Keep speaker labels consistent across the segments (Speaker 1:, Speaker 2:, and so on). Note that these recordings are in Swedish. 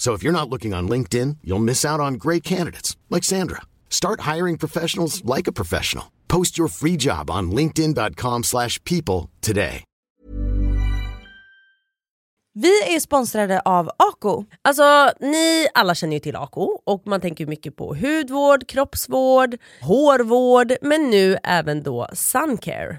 Speaker 1: So if you're not looking on LinkedIn, you'll miss out on great candidates like Sandra. Start hiring professionals like a professional. Post your free job on linkedin.com/people slash people today.
Speaker 2: Vi är sponsrade av Ako. Alltså, ni alla känner ju till Ako och man tänker ju mycket på hudvård, kroppsvård, hårvård men nu även då suncare.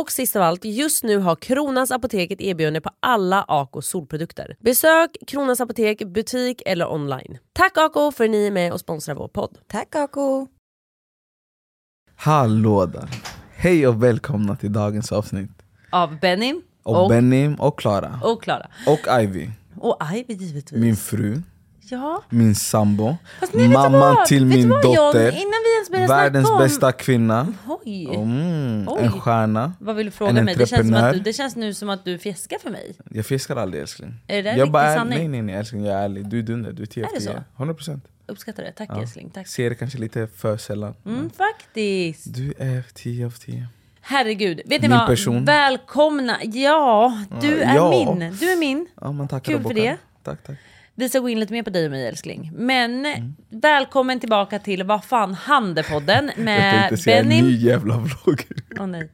Speaker 2: Och sist av allt, just nu har Kronans Apotek ett erbjudande på alla Ako solprodukter. Besök Kronans Apotek, butik eller online. Tack Ako för att ni är med och sponsrar vår podd.
Speaker 3: Tack Ako!
Speaker 4: Hallå där! Hej och välkomna till dagens avsnitt
Speaker 5: av Benny
Speaker 4: Och, Benim och Klara
Speaker 5: och Klara.
Speaker 4: Och Ivy,
Speaker 5: Och Ivy givetvis.
Speaker 4: min fru,
Speaker 5: Ja.
Speaker 4: min sambo,
Speaker 5: Fast nej, vet du
Speaker 4: mamman
Speaker 5: vad?
Speaker 4: till
Speaker 5: Vet du
Speaker 4: min
Speaker 5: vad, John?
Speaker 4: dotter
Speaker 5: Innan vi ens börjar
Speaker 4: Världens
Speaker 5: snacka om-
Speaker 4: bästa kvinna,
Speaker 5: Oj.
Speaker 4: mm,
Speaker 5: Oj.
Speaker 4: en stjärna
Speaker 5: Vad vill du
Speaker 4: En
Speaker 5: fråga mig? Det känns, som
Speaker 4: entreprenör.
Speaker 5: att du, det känns nu som att du fjäskar för mig.
Speaker 4: Jag fiskar aldrig älskling
Speaker 5: Är det där
Speaker 4: jag
Speaker 5: riktig
Speaker 4: bara, är-
Speaker 5: sanning?
Speaker 4: Nej nej nej älskling, jag är ärlig, du är dunder, du är 10 av
Speaker 5: Är det
Speaker 4: 10 100%
Speaker 5: Uppskattar det. Tack
Speaker 4: Ja.
Speaker 5: älskling. Tack.
Speaker 4: Ser det kanske lite för sällan
Speaker 5: Mm, faktiskt.
Speaker 4: Du är 10 av 10
Speaker 5: Herregud. Vet ni
Speaker 4: Min
Speaker 5: vad?
Speaker 4: person.
Speaker 5: Välkomna. Ja, du
Speaker 4: Ja,
Speaker 5: är
Speaker 4: ja.
Speaker 5: min. Du är min.
Speaker 4: Ja man tackar
Speaker 5: Kul
Speaker 4: och
Speaker 5: för
Speaker 4: bockar.
Speaker 5: det.
Speaker 4: Tack tack
Speaker 5: Vi ska gå in lite mer på dig och mig älskling. Men
Speaker 4: Mm.
Speaker 5: välkommen tillbaka till Vad fan händer-podden
Speaker 4: Jag
Speaker 3: Eh,
Speaker 5: med
Speaker 4: tänkte säga en
Speaker 5: Benny.
Speaker 4: ny jävla vlogg
Speaker 5: Åh nej.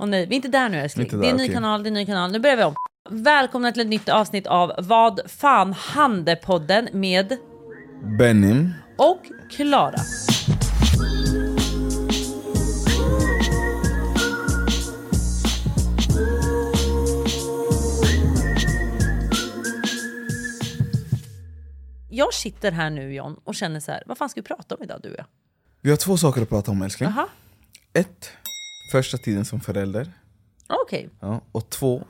Speaker 5: Åh nej, vi är inte där nu älskling.
Speaker 4: Inte
Speaker 5: det är en
Speaker 4: där,
Speaker 5: ny
Speaker 4: okej.
Speaker 5: kanal, det är en ny kanal. Nu börjar vi om. Välkomna till ett nytt avsnitt av Vad fan hände-podden med
Speaker 4: Benim
Speaker 5: och Klara. Jag sitter här nu John och känner så här, vad fan ska vi prata om idag du och jag?
Speaker 4: Vi har två saker att prata om älskling.
Speaker 5: Jaha,
Speaker 4: Ett, första tiden som förälder.
Speaker 5: okej.
Speaker 4: Ja. Och två,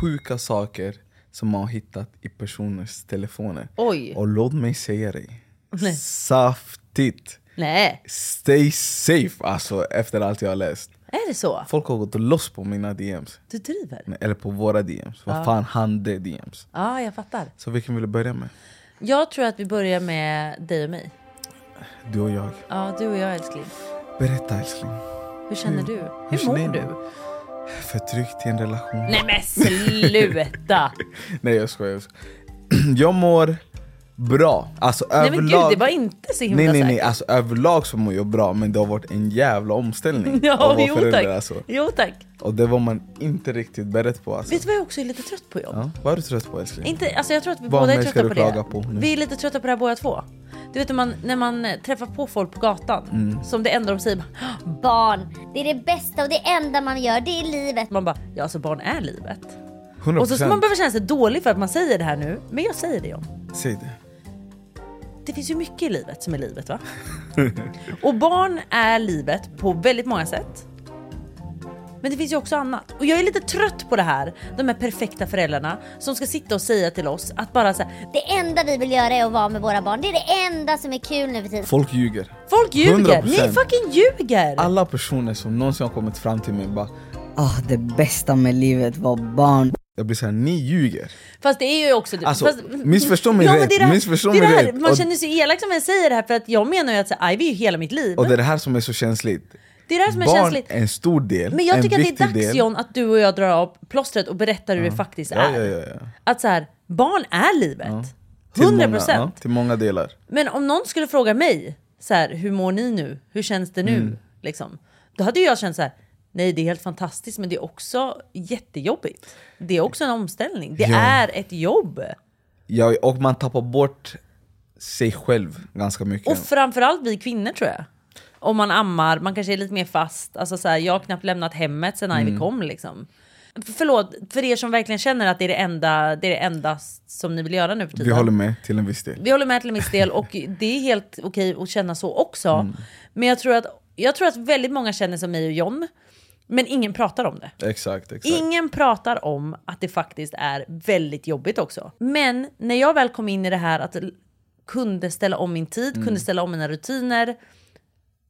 Speaker 4: sjuka saker
Speaker 3: som man har hittat i personers telefoner.
Speaker 2: Oj.
Speaker 3: Och låt mig säga dig,
Speaker 2: Nej.
Speaker 3: saftigt!
Speaker 2: Nej,
Speaker 3: Stay safe alltså efter allt jag har läst.
Speaker 2: är det så?
Speaker 3: Folk har gått loss på mina DMs.
Speaker 2: Du driver? Ja,
Speaker 3: Nej, Eller på våra DMs. Vad
Speaker 2: Ja.
Speaker 3: fan han det DMs?
Speaker 2: ah, jag fattar.
Speaker 3: Så vilken vill du börja med?
Speaker 2: Jag tror att vi börjar med dig och mig.
Speaker 3: Du och jag.
Speaker 2: Ja, du och jag älskling.
Speaker 3: Berätta älskling.
Speaker 2: Hur känner du? Hur mår
Speaker 3: Mm. känner
Speaker 2: du?
Speaker 3: jag mig? Förtryckt i en relation.
Speaker 2: Nej men sluta!
Speaker 3: Nej jag skojar. jag skojar. Jag mår bra. Alltså
Speaker 2: Nej men
Speaker 3: överlag.
Speaker 2: gud, det var inte så himla
Speaker 3: Nej nej nej,
Speaker 2: säkert.
Speaker 3: alltså överlag så mår jag bra men det har varit en jävla omställning.
Speaker 2: Ja,
Speaker 3: att vara
Speaker 2: jo
Speaker 3: förälder,
Speaker 2: tack.
Speaker 3: Alltså.
Speaker 2: Jo tack.
Speaker 3: Och det var man inte riktigt beredd på alltså.
Speaker 2: Vet du vad jag också är lite trött på i år?
Speaker 3: Ja, vad är du trött på älskling?
Speaker 2: Inte, alltså jag tror att vi
Speaker 3: Vad
Speaker 2: båda är
Speaker 3: mer ska
Speaker 2: trötta på
Speaker 3: du klaga
Speaker 2: det.
Speaker 3: på nu?
Speaker 2: vi är lite trötta på det här båda två. Du vet när man, när man eh, träffar på folk på gatan
Speaker 3: Mm.
Speaker 2: som det enda de säger bara, "Hå!"
Speaker 6: Barn, det är det bästa och det enda man gör, det är livet.
Speaker 2: man bara ja alltså barn är livet.
Speaker 3: 100%.
Speaker 2: Och så ska man behöva känna sig dålig för att man säger det här nu. Men jag säger det John.
Speaker 3: Säg det.
Speaker 2: Det finns ju mycket i livet som är livet va? Och barn är livet på väldigt många sätt. Men det finns ju också annat. Och jag är lite trött på det här. De här perfekta föräldrarna som ska sitta och säga till oss att bara så här,
Speaker 6: Det enda vi vill göra är att vara med våra barn. Det är det enda som är kul nu för tiden.
Speaker 3: Folk ljuger.
Speaker 2: Folk ljuger!
Speaker 3: 100%.
Speaker 2: Ni fucking ljuger!
Speaker 3: Alla personer som någonsin har kommit fram till mig bara
Speaker 7: Ah, det bästa med livet var barn.
Speaker 3: Jag blir såhär, ni ljuger.
Speaker 2: Fast det är ju också... typ-
Speaker 3: Alltså,
Speaker 2: fast,
Speaker 3: missförstå mig
Speaker 2: ja, men
Speaker 3: rätt,
Speaker 2: det är det här-
Speaker 3: missförstå
Speaker 2: det är
Speaker 3: mig
Speaker 2: det här.
Speaker 3: rätt.
Speaker 2: Man
Speaker 3: Och-
Speaker 2: känner sig elak som jag säger det här för att jag menar ju att så här, Ivy är ju hela mitt liv.
Speaker 3: Och det är det här som är så känsligt.
Speaker 2: det är det här som är
Speaker 3: Barn
Speaker 2: känsligt.
Speaker 3: är en stor del,
Speaker 2: Men jag
Speaker 3: en
Speaker 2: tycker att det är
Speaker 3: viktig
Speaker 2: dags
Speaker 3: del.
Speaker 2: John att du och jag drar av plåstret och berättar hur det faktiskt
Speaker 3: ja,
Speaker 2: är.
Speaker 3: ja, ja, ja.
Speaker 2: Att så här, barn är livet.
Speaker 3: Till
Speaker 2: 100
Speaker 3: många, ja,
Speaker 2: procent.
Speaker 3: Till många delar.
Speaker 2: Men om någon skulle fråga mig, så här, hur mår ni nu? Hur känns det nu?
Speaker 3: Mm.
Speaker 2: Liksom, då hade ju jag känt så här, nej det är helt fantastiskt men det är också jättejobbigt. Det är också en omställning. Det
Speaker 3: Ja.
Speaker 2: är ett jobb.
Speaker 3: Ja, och man tappar bort sig själv ganska mycket.
Speaker 2: Och framförallt vi kvinnor tror jag. Om man ammar, man kanske är lite mer fast. Alltså så här, jag har knappt lämnat hemmet sen Ivy
Speaker 3: Mm.
Speaker 2: kom liksom. F- Förlåt, för er som verkligen känner att det är det enda, det är det enda som ni vill göra nu för tiden.
Speaker 3: Vi håller med till en viss del.
Speaker 2: Vi håller med till en viss del och det är helt okej att känna så också.
Speaker 3: Mm.
Speaker 2: Men jag tror, att, jag tror att väldigt många känner som mig och John, men ingen pratar om det.
Speaker 3: Exakt, exakt.
Speaker 2: Ingen pratar om att det faktiskt är väldigt jobbigt också. Men när jag väl kom in i det här att l- kunde ställa om min tid,
Speaker 3: Mm.
Speaker 2: kunde ställa om mina rutiner.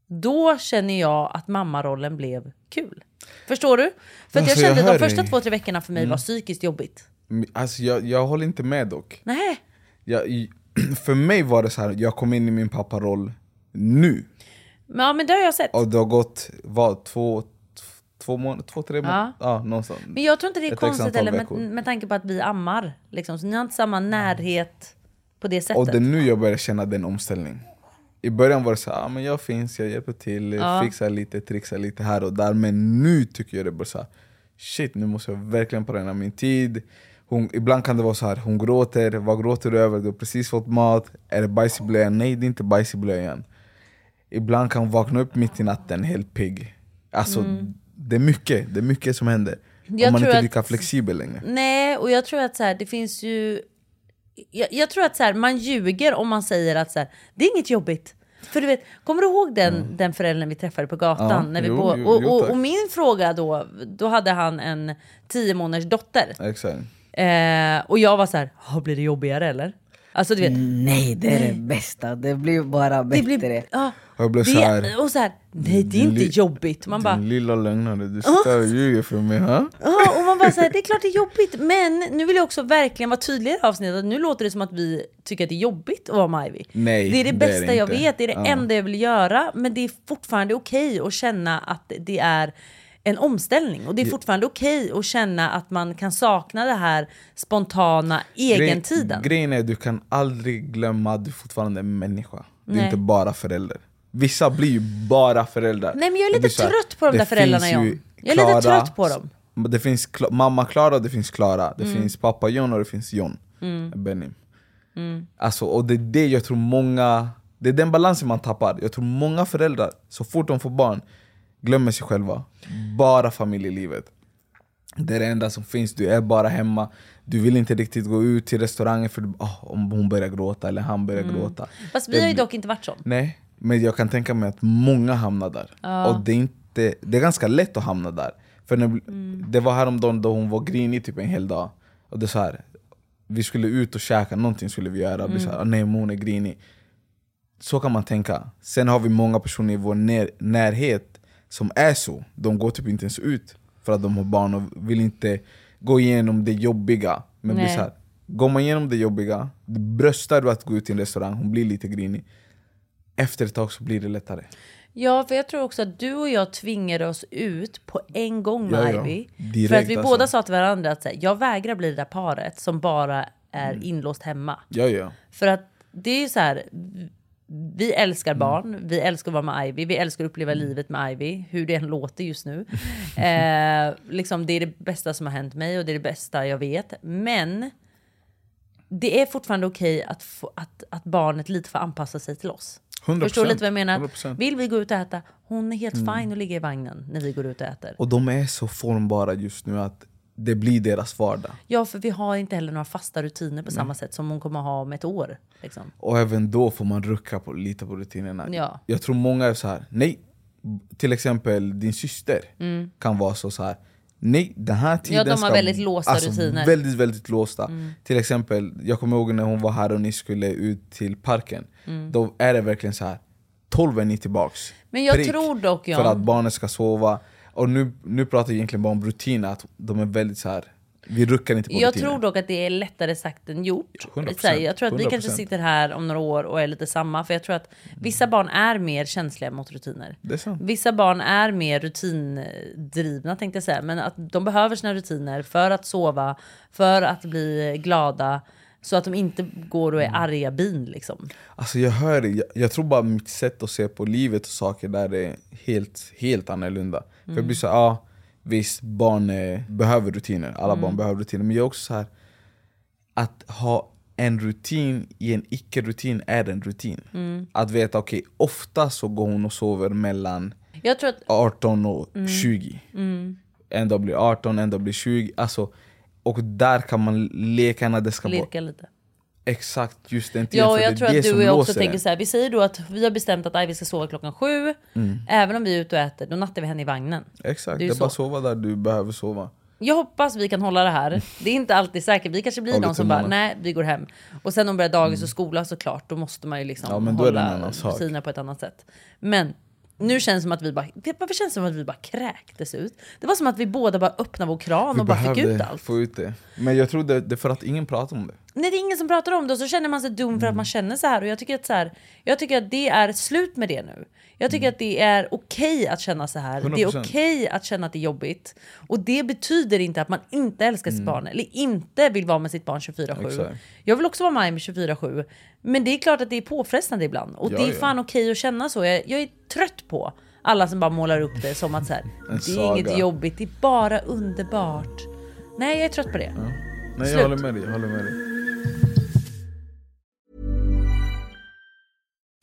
Speaker 2: Då känner jag att mammarollen blev kul. Förstår du? För att jag
Speaker 3: Alltså, jag
Speaker 2: kände att de
Speaker 3: hör
Speaker 2: första
Speaker 3: dig.
Speaker 2: två, tre veckorna för mig
Speaker 3: Mm.
Speaker 2: var psykiskt jobbigt.
Speaker 3: Alltså, jag, jag håller inte med dock.
Speaker 2: Nej.
Speaker 3: Jag, i- för mig var det så här, jag kom in i min papparoll nu.
Speaker 2: Men, ja, men det har jag sett.
Speaker 3: Och det har gått, vad, två, t- två månader? Två, tre månader? Ja, någonstans.
Speaker 2: Men jag tror inte det är
Speaker 3: Ett
Speaker 2: konstigt
Speaker 3: antal
Speaker 2: heller med,
Speaker 3: veckor.
Speaker 2: med tanke på att vi ammar. Liksom. Så ni har inte samma närhet på det sättet.
Speaker 3: Och det är nu jag börjar känna den omställning. I början var det så här, ah, men jag finns, jag hjälper till,
Speaker 2: Ja.
Speaker 3: fixar lite, trixar lite här och där. Men nu tycker jag det bara så här, shit nu måste jag verkligen planera min tid. Hon, ibland kan det vara så här, hon gråter, vad gråter du över? Du har precis fått mat, är det bajs i blöjan? Nej det är inte bajs i blöjan. Ibland kan hon vakna upp mitt i natten helt pigg. Alltså
Speaker 2: Mm.
Speaker 3: det är mycket, det är mycket som händer.
Speaker 2: Jag
Speaker 3: och
Speaker 2: tror
Speaker 3: man är inte
Speaker 2: att- Mm.
Speaker 3: lika flexibel längre.
Speaker 2: Nej, och jag tror att så här, det finns ju... Jag, jag tror att så här, man ljuger om man säger att så här, det är inget jobbigt. För du vet, kommer du ihåg den, den föräldern vi träffade på gatan?
Speaker 3: Mm. Ja,
Speaker 2: när vi
Speaker 3: jo,
Speaker 2: bo,
Speaker 3: jo,
Speaker 2: och,
Speaker 3: jo,
Speaker 2: och,
Speaker 3: tack.
Speaker 2: och min fråga då, då hade han en tio månaders dotter.
Speaker 3: Exakt.
Speaker 2: Eh, och jag var så här, "Ja, blir det jobbigare eller? Alltså du vet.
Speaker 3: Mm.
Speaker 7: Nej, det är det bästa. Det blir bara bättre.
Speaker 2: Ja,
Speaker 3: Jag blev
Speaker 2: det,
Speaker 3: så här,
Speaker 2: och så här, nej det är inte
Speaker 3: Li-
Speaker 2: jobbigt. Man bara,
Speaker 3: din lilla lögnare, du sitter och ljuger för mig. Ha?
Speaker 2: Ja, och man bara såhär, det är klart det är jobbigt. Men nu vill jag också verkligen vara tydlig i det här avsnittet. att Nu låter det som att vi tycker att det är jobbigt att vara med Ivy.
Speaker 3: Nej,
Speaker 2: det är det bästa jag
Speaker 3: inte.
Speaker 2: vet, det är det
Speaker 3: Ja.
Speaker 2: enda jag vill göra. Men det är fortfarande okej att känna att det är en omställning. Och det är
Speaker 3: Ja.
Speaker 2: fortfarande okej att känna att man kan sakna det här spontana egentiden.
Speaker 3: Grej- Grejen är att du kan aldrig glömma att du fortfarande är en människa. Du är
Speaker 2: Nej.
Speaker 3: inte bara förälder. Vissa blir ju bara föräldrar.
Speaker 2: Nej, men jag är lite
Speaker 3: Det blir så här,
Speaker 2: trött på de
Speaker 3: det
Speaker 2: där föräldrarna,
Speaker 3: finns ju
Speaker 2: John. Jag är lite
Speaker 3: Klara-
Speaker 2: trött på dem.
Speaker 3: Det finns Kla- mamma Klara, det finns Klara, det
Speaker 2: Mm.
Speaker 3: finns pappa John och det finns John.
Speaker 2: Mm.
Speaker 3: Benny.
Speaker 2: Mm.
Speaker 3: Alltså, och det är det jag tror många... Det är den balansen man tappar. Jag tror många föräldrar, så fort de får barn, glömmer sig själva. Bara familjelivet. Det är det enda som finns, du är bara hemma. Du vill inte riktigt gå ut till restaurangen för du, "Ah, om hon börjar gråta eller han börjar gråta.
Speaker 2: Mm. Fast vi
Speaker 3: Det
Speaker 2: har ju
Speaker 3: blir-
Speaker 2: dock inte varit sån.
Speaker 3: Nej, men jag kan tänka mig att många hamnar där.
Speaker 2: Ja.
Speaker 3: Och det är, inte, det är ganska lätt att
Speaker 2: Mm.
Speaker 3: hamna där. För när, Det var häromdagen då hon var grinig typ en hel dag. Och det är så här, vi skulle ut och käka, någonting skulle vi göra. Vi
Speaker 8: Mm.
Speaker 3: sa "Ah, nej Moon är grinig. Så kan man tänka. Sen har vi många personer i vår när- närhet som är så. De går typ inte ens ut för att de har barn och vill inte gå igenom det jobbiga. Men blir
Speaker 8: Nej.
Speaker 3: så här, går man igenom det jobbiga, bröstar du att gå ut till en restaurang, hon blir lite grinig. Efter ett tag så blir det lättare.
Speaker 2: Ja, för jag tror också att du och jag tvingade oss ut på en gång med
Speaker 3: Ja, ja.
Speaker 2: Ivy.
Speaker 3: Direkt,
Speaker 2: för att vi
Speaker 3: alltså.
Speaker 2: båda sa till varandra att så här, jag vägrar bli det där paret som bara är
Speaker 3: Mm.
Speaker 2: inlåst hemma.
Speaker 3: Ja, ja.
Speaker 2: För att det är ju så här, vi älskar
Speaker 3: Mm.
Speaker 2: barn, vi älskar att vara med Ivy, vi älskar att uppleva livet med Ivy, hur det än låter just nu. eh, liksom, det är det bästa som har hänt mig och det är det bästa jag vet. Men det är fortfarande okej att, få, att, att barnet lite får anpassa sig till oss.
Speaker 3: 100%,
Speaker 2: Förstår du lite vad jag menar?
Speaker 3: 100%.
Speaker 2: Vill vi gå ut och äta, hon är helt
Speaker 3: Mm.
Speaker 2: fin att ligga i vagnen när vi går ut och äter.
Speaker 3: Och de är så formbara just nu att det blir deras vardag.
Speaker 2: Ja, för vi har inte heller några fasta rutiner på
Speaker 3: Nej.
Speaker 2: samma sätt som hon kommer ha om ett år. Liksom.
Speaker 3: Och även då får man rucka på, lite på rutinerna.
Speaker 2: Ja.
Speaker 3: Jag tror många är så här. nej. Till exempel din syster
Speaker 2: Mm.
Speaker 3: kan vara så, så här. nej den här tiden
Speaker 2: Ja, de har
Speaker 3: ska... Alltså,
Speaker 2: väldigt låsta rutiner.
Speaker 3: Väldigt, väldigt låsta.
Speaker 2: Mm.
Speaker 3: Till exempel, jag kommer ihåg när hon var här och ni skulle ut till parken.
Speaker 2: Mm.
Speaker 3: Då är det verkligen så här. 12 är ni tillbaks.
Speaker 2: Men jag tror dock,
Speaker 3: För
Speaker 2: John-
Speaker 3: att barnen ska sova. Och nu, nu pratar jag egentligen bara om rutiner, att de är väldigt så här. vi ruckar inte på
Speaker 2: Jag
Speaker 3: rutiner.
Speaker 2: tror dock att det är lättare sagt än gjort.
Speaker 3: 100%,
Speaker 2: Så här, jag tror att vi kanske
Speaker 3: 100%.
Speaker 2: sitter här om några år och är lite samma. För jag tror att vissa barn är mer känsliga mot rutiner.
Speaker 3: Det är sant.
Speaker 2: Vissa barn är mer rutindrivna tänkte jag säga. Men att de behöver sina rutiner för att sova, för att bli glada. Så att de inte går och är
Speaker 3: Mm.
Speaker 2: arga bin liksom.
Speaker 3: Alltså jag hör det, jag, jag tror bara mitt sätt att se på livet och saker där är helt, helt annorlunda. För jag
Speaker 8: Mm.
Speaker 3: blir såhär, ja visst barn eh, behöver rutiner, alla
Speaker 8: Mm.
Speaker 3: barn behöver rutiner. Men jag är också så här att ha en rutin i en icke-rutin är en rutin.
Speaker 2: Mm.
Speaker 3: Att veta, okej ofta så går hon och sover mellan
Speaker 2: Jag tror att...
Speaker 3: 18 och
Speaker 2: Mm.
Speaker 3: 20.
Speaker 2: Mm.
Speaker 3: En dag blir 18, en dag blir 20. Alltså, och där kan man leka när det ska vara
Speaker 2: Lirka lite.
Speaker 3: exakt just den tiden.
Speaker 2: Ja, och
Speaker 3: för
Speaker 2: jag
Speaker 3: det
Speaker 2: tror
Speaker 3: är det
Speaker 2: att du
Speaker 3: som
Speaker 2: och jag också
Speaker 3: låser
Speaker 2: tänker
Speaker 3: en.
Speaker 2: så här. Vi säger då att vi har bestämt att Ivy ska sova klockan sju.
Speaker 3: Mm. Eh.
Speaker 2: Även om vi är ute och äter, då nattar vi henne i vagnen.
Speaker 3: Exakt,
Speaker 2: Det
Speaker 3: det
Speaker 2: är
Speaker 3: är,
Speaker 2: ju
Speaker 3: bara
Speaker 2: så.
Speaker 3: sova där du behöver sova.
Speaker 2: Jag hoppas vi kan hålla det här. Det är inte alltid säkert. Vi kanske blir
Speaker 3: Håller
Speaker 2: någon som bara,
Speaker 3: tummarna.
Speaker 2: nej, vi går hem. Och sen om börjar dagis och skola såklart, då måste man ju liksom
Speaker 3: Mm. Ja, men då är det en
Speaker 2: hålla
Speaker 3: annan sak.
Speaker 2: rutiner på ett annat sätt. Men nu känns det som att vi bara, det- varför känns det som att vi bara kräktes ut? Det var som att vi båda bara öppnade vår kran
Speaker 3: Vi
Speaker 2: och bara fick ut
Speaker 3: behövde
Speaker 2: allt.
Speaker 3: få ut det. Men jag tror det, det är för att ingen pratar om det.
Speaker 2: Nej, det är ingen som pratar om det och så känner man sig dum
Speaker 3: Mm.
Speaker 2: för att man känner så här. Och jag tycker att, så här, jag tycker att det är slut med det nu. Jag
Speaker 3: Mm.
Speaker 2: tycker att det är okej att känna så här. Det är
Speaker 3: 100%.
Speaker 2: okej att känna att det är jobbigt. Och det betyder inte att man inte älskar sitt
Speaker 3: Mm.
Speaker 2: barn eller inte vill vara med sitt barn 24-7.
Speaker 3: Exakt.
Speaker 2: Jag vill också vara med mig 24-7. Men det är klart att det är påfrestande ibland. Och
Speaker 3: Ja,
Speaker 2: det är
Speaker 3: ja.
Speaker 2: fan okej att känna så. Jag, jag är trött på alla som bara målar upp det som att så här,
Speaker 3: En
Speaker 2: det är inget
Speaker 3: saga.
Speaker 2: jobbigt, det är bara underbart. Nej, jag är trött på det.
Speaker 3: Nej,
Speaker 2: Slut.
Speaker 3: jag håller med dig. Jag håller med dig.